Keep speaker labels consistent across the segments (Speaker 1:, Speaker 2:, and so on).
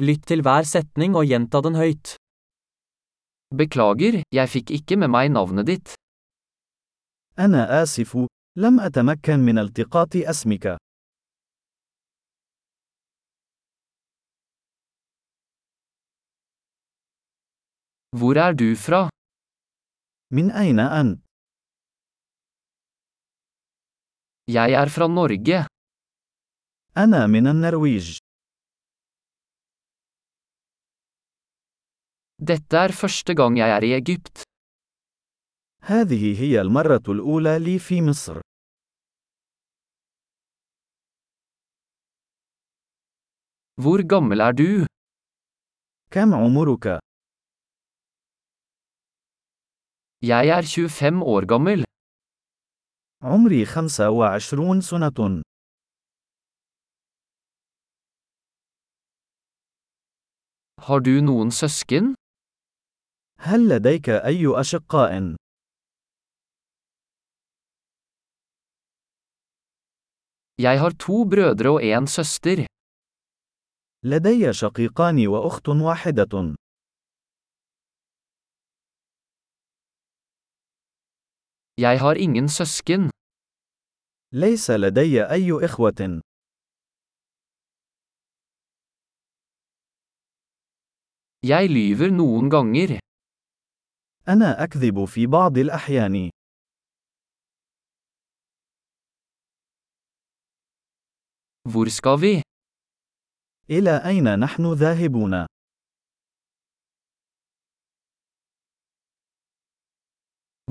Speaker 1: Lytt til hver setning og gjenta den høyt. Beklager, jeg fikk ikke med meg navnet ditt.
Speaker 2: أنا آسف، لم أتمكن من التقاط اسمك.
Speaker 1: Hvor er du fra?
Speaker 2: من أين أنت؟
Speaker 1: Jeg er fra Norge.
Speaker 2: أنا من النرويج.
Speaker 1: Dette er første gang jeg er i Egypt.
Speaker 2: هذه هي المرة الأولى لي في مصر.
Speaker 1: Hvor gammel er du?
Speaker 2: كم عمرك؟
Speaker 1: Jeg er 25 år gammel.
Speaker 2: عمري 25 سنة.
Speaker 1: Har du noen søsken?
Speaker 2: هل لديك أي أشقاء؟
Speaker 1: Jeg har to brødre og en søster.
Speaker 2: لدي شقيقان وأخت واحدة.
Speaker 1: Jeg har ingen søsken.
Speaker 2: ليس لدي أي إخوة.
Speaker 1: Jeg lyver noen ganger.
Speaker 2: أنا أكذب في بعض الأحيان.
Speaker 1: Hvor skal vi?
Speaker 2: إلى أين نحن ذاهبون؟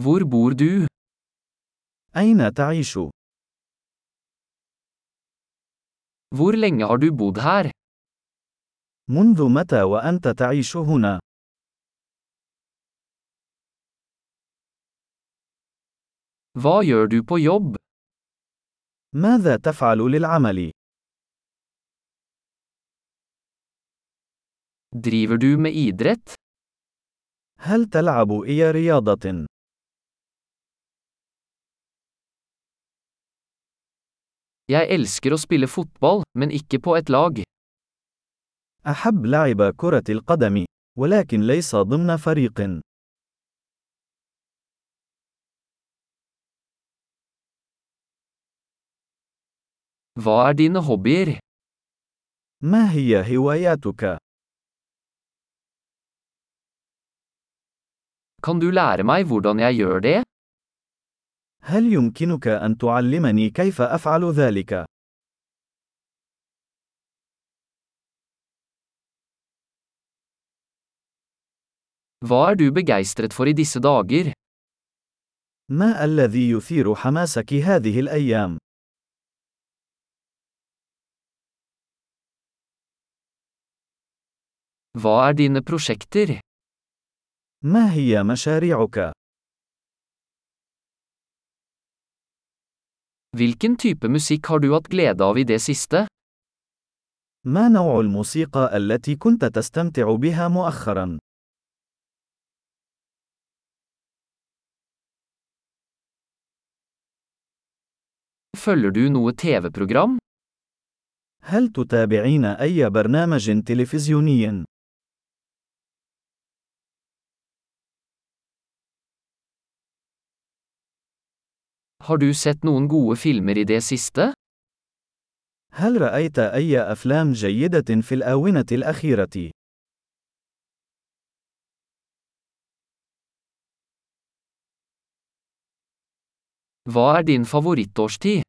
Speaker 1: Hvor bor du?
Speaker 2: أين تعيش؟
Speaker 1: Hvor lenge har du bodd her?
Speaker 2: منذ متى وأنت تعيش هنا؟
Speaker 1: Hva gjør du på jobb?
Speaker 2: ماذا تفعل للعمل؟
Speaker 1: Driver du med idrett?
Speaker 2: هل تلعب أي رياضة؟
Speaker 1: Jeg elsker å spille fotball, men ikke på et lag.
Speaker 2: أحب لعب كرة القدم، ولكن ليس ضمن فريق.
Speaker 1: Hva er dine hobbyer?
Speaker 2: ما هي هواياتك؟
Speaker 1: Kan du lære meg hvordan jeg gjør det?
Speaker 2: هل يمكنك أن تعلمني كيف أفعل ذلك؟
Speaker 1: Hva er du begeistret for i disse dager?
Speaker 2: ما الذي يثير حماسك هذه الأيام؟
Speaker 1: Hva er dine prosjekter?
Speaker 2: ما هي مشاريعك؟
Speaker 1: Hvilken type musikk har du hatt glede av i det siste?
Speaker 2: ما نوع الموسيقى التي كنت تستمتع بها مؤخرا؟
Speaker 1: Følger du noe TV-program?
Speaker 2: هل تتابعين أي برنامج تلفزيوني؟
Speaker 1: Har du sett noen gode filmer i det siste?
Speaker 2: هل رأيت أي أفلام جيدة في الآونة الأخيرة؟
Speaker 1: Hva er din favorittårstid?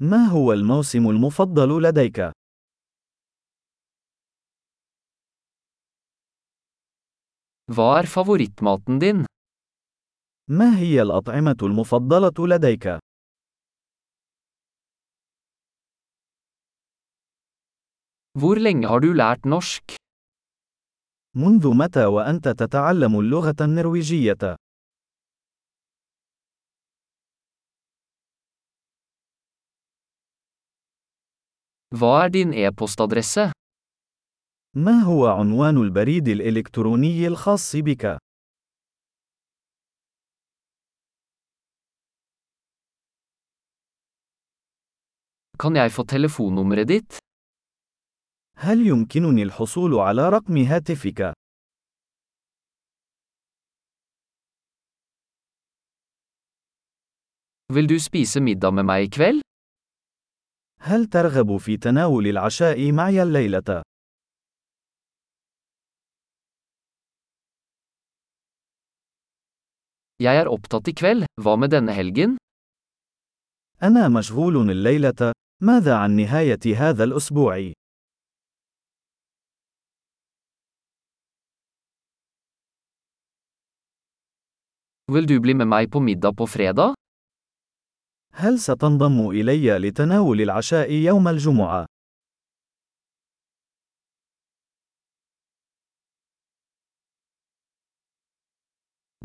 Speaker 2: ما هو الموسم المفضل لديك؟
Speaker 1: Hva er favorittmaten din?
Speaker 2: ما هي الأطعمة المفضلة لديك؟
Speaker 1: Hvor lenge har du lært norsk?
Speaker 2: منذ متى وأنت تتعلم اللغة النرويجية؟
Speaker 1: Hva er din e-postadresse?
Speaker 2: ما هو عنوان البريد الإلكتروني الخاص بك؟
Speaker 1: Kan jeg få telefonnummeret ditt?
Speaker 2: هل يمكنني الحصول على رقم هاتفك؟
Speaker 1: Vil du spise middag med meg i kveld?
Speaker 2: هل ترغب في تناول العشاء معي الليلة؟
Speaker 1: Jeg er opptatt i kveld, hva med denne helgen?
Speaker 2: أنا مشغول الليلة. ماذا عن نهاية هذا الأسبوع؟
Speaker 1: Vil du bli med meg på middag på fredag?
Speaker 2: هل ستنضم إلي لتناول العشاء يوم الجمعة؟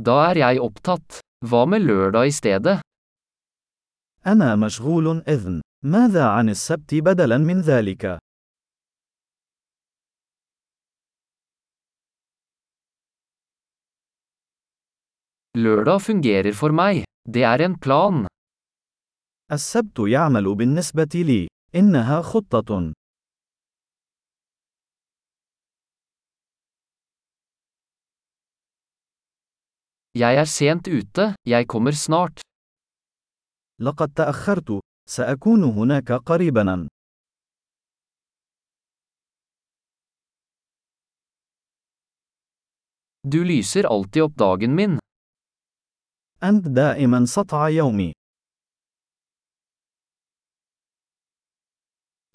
Speaker 1: Da er jeg opptatt. Hva med lørdag i stedet?
Speaker 2: أنا مشغول إذن. ماذا عن السبت بدلا من ذلك؟
Speaker 1: Lørdag fungerer for meg. Det er en plan.
Speaker 2: السبت يعمل بالنسبة لي. إنها خطة.
Speaker 1: Jeg er sent ute, jeg kommer snart.
Speaker 2: لقد تأخرت. سأكون هناك قريبا.
Speaker 1: Du lyser alltid opp dagen min.
Speaker 2: أنت دائما سطع يومي.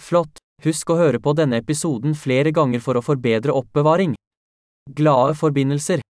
Speaker 3: Flott. Husk å høre på denne episoden flere ganger for å forbedre oppbevaring. Glade forbindelser.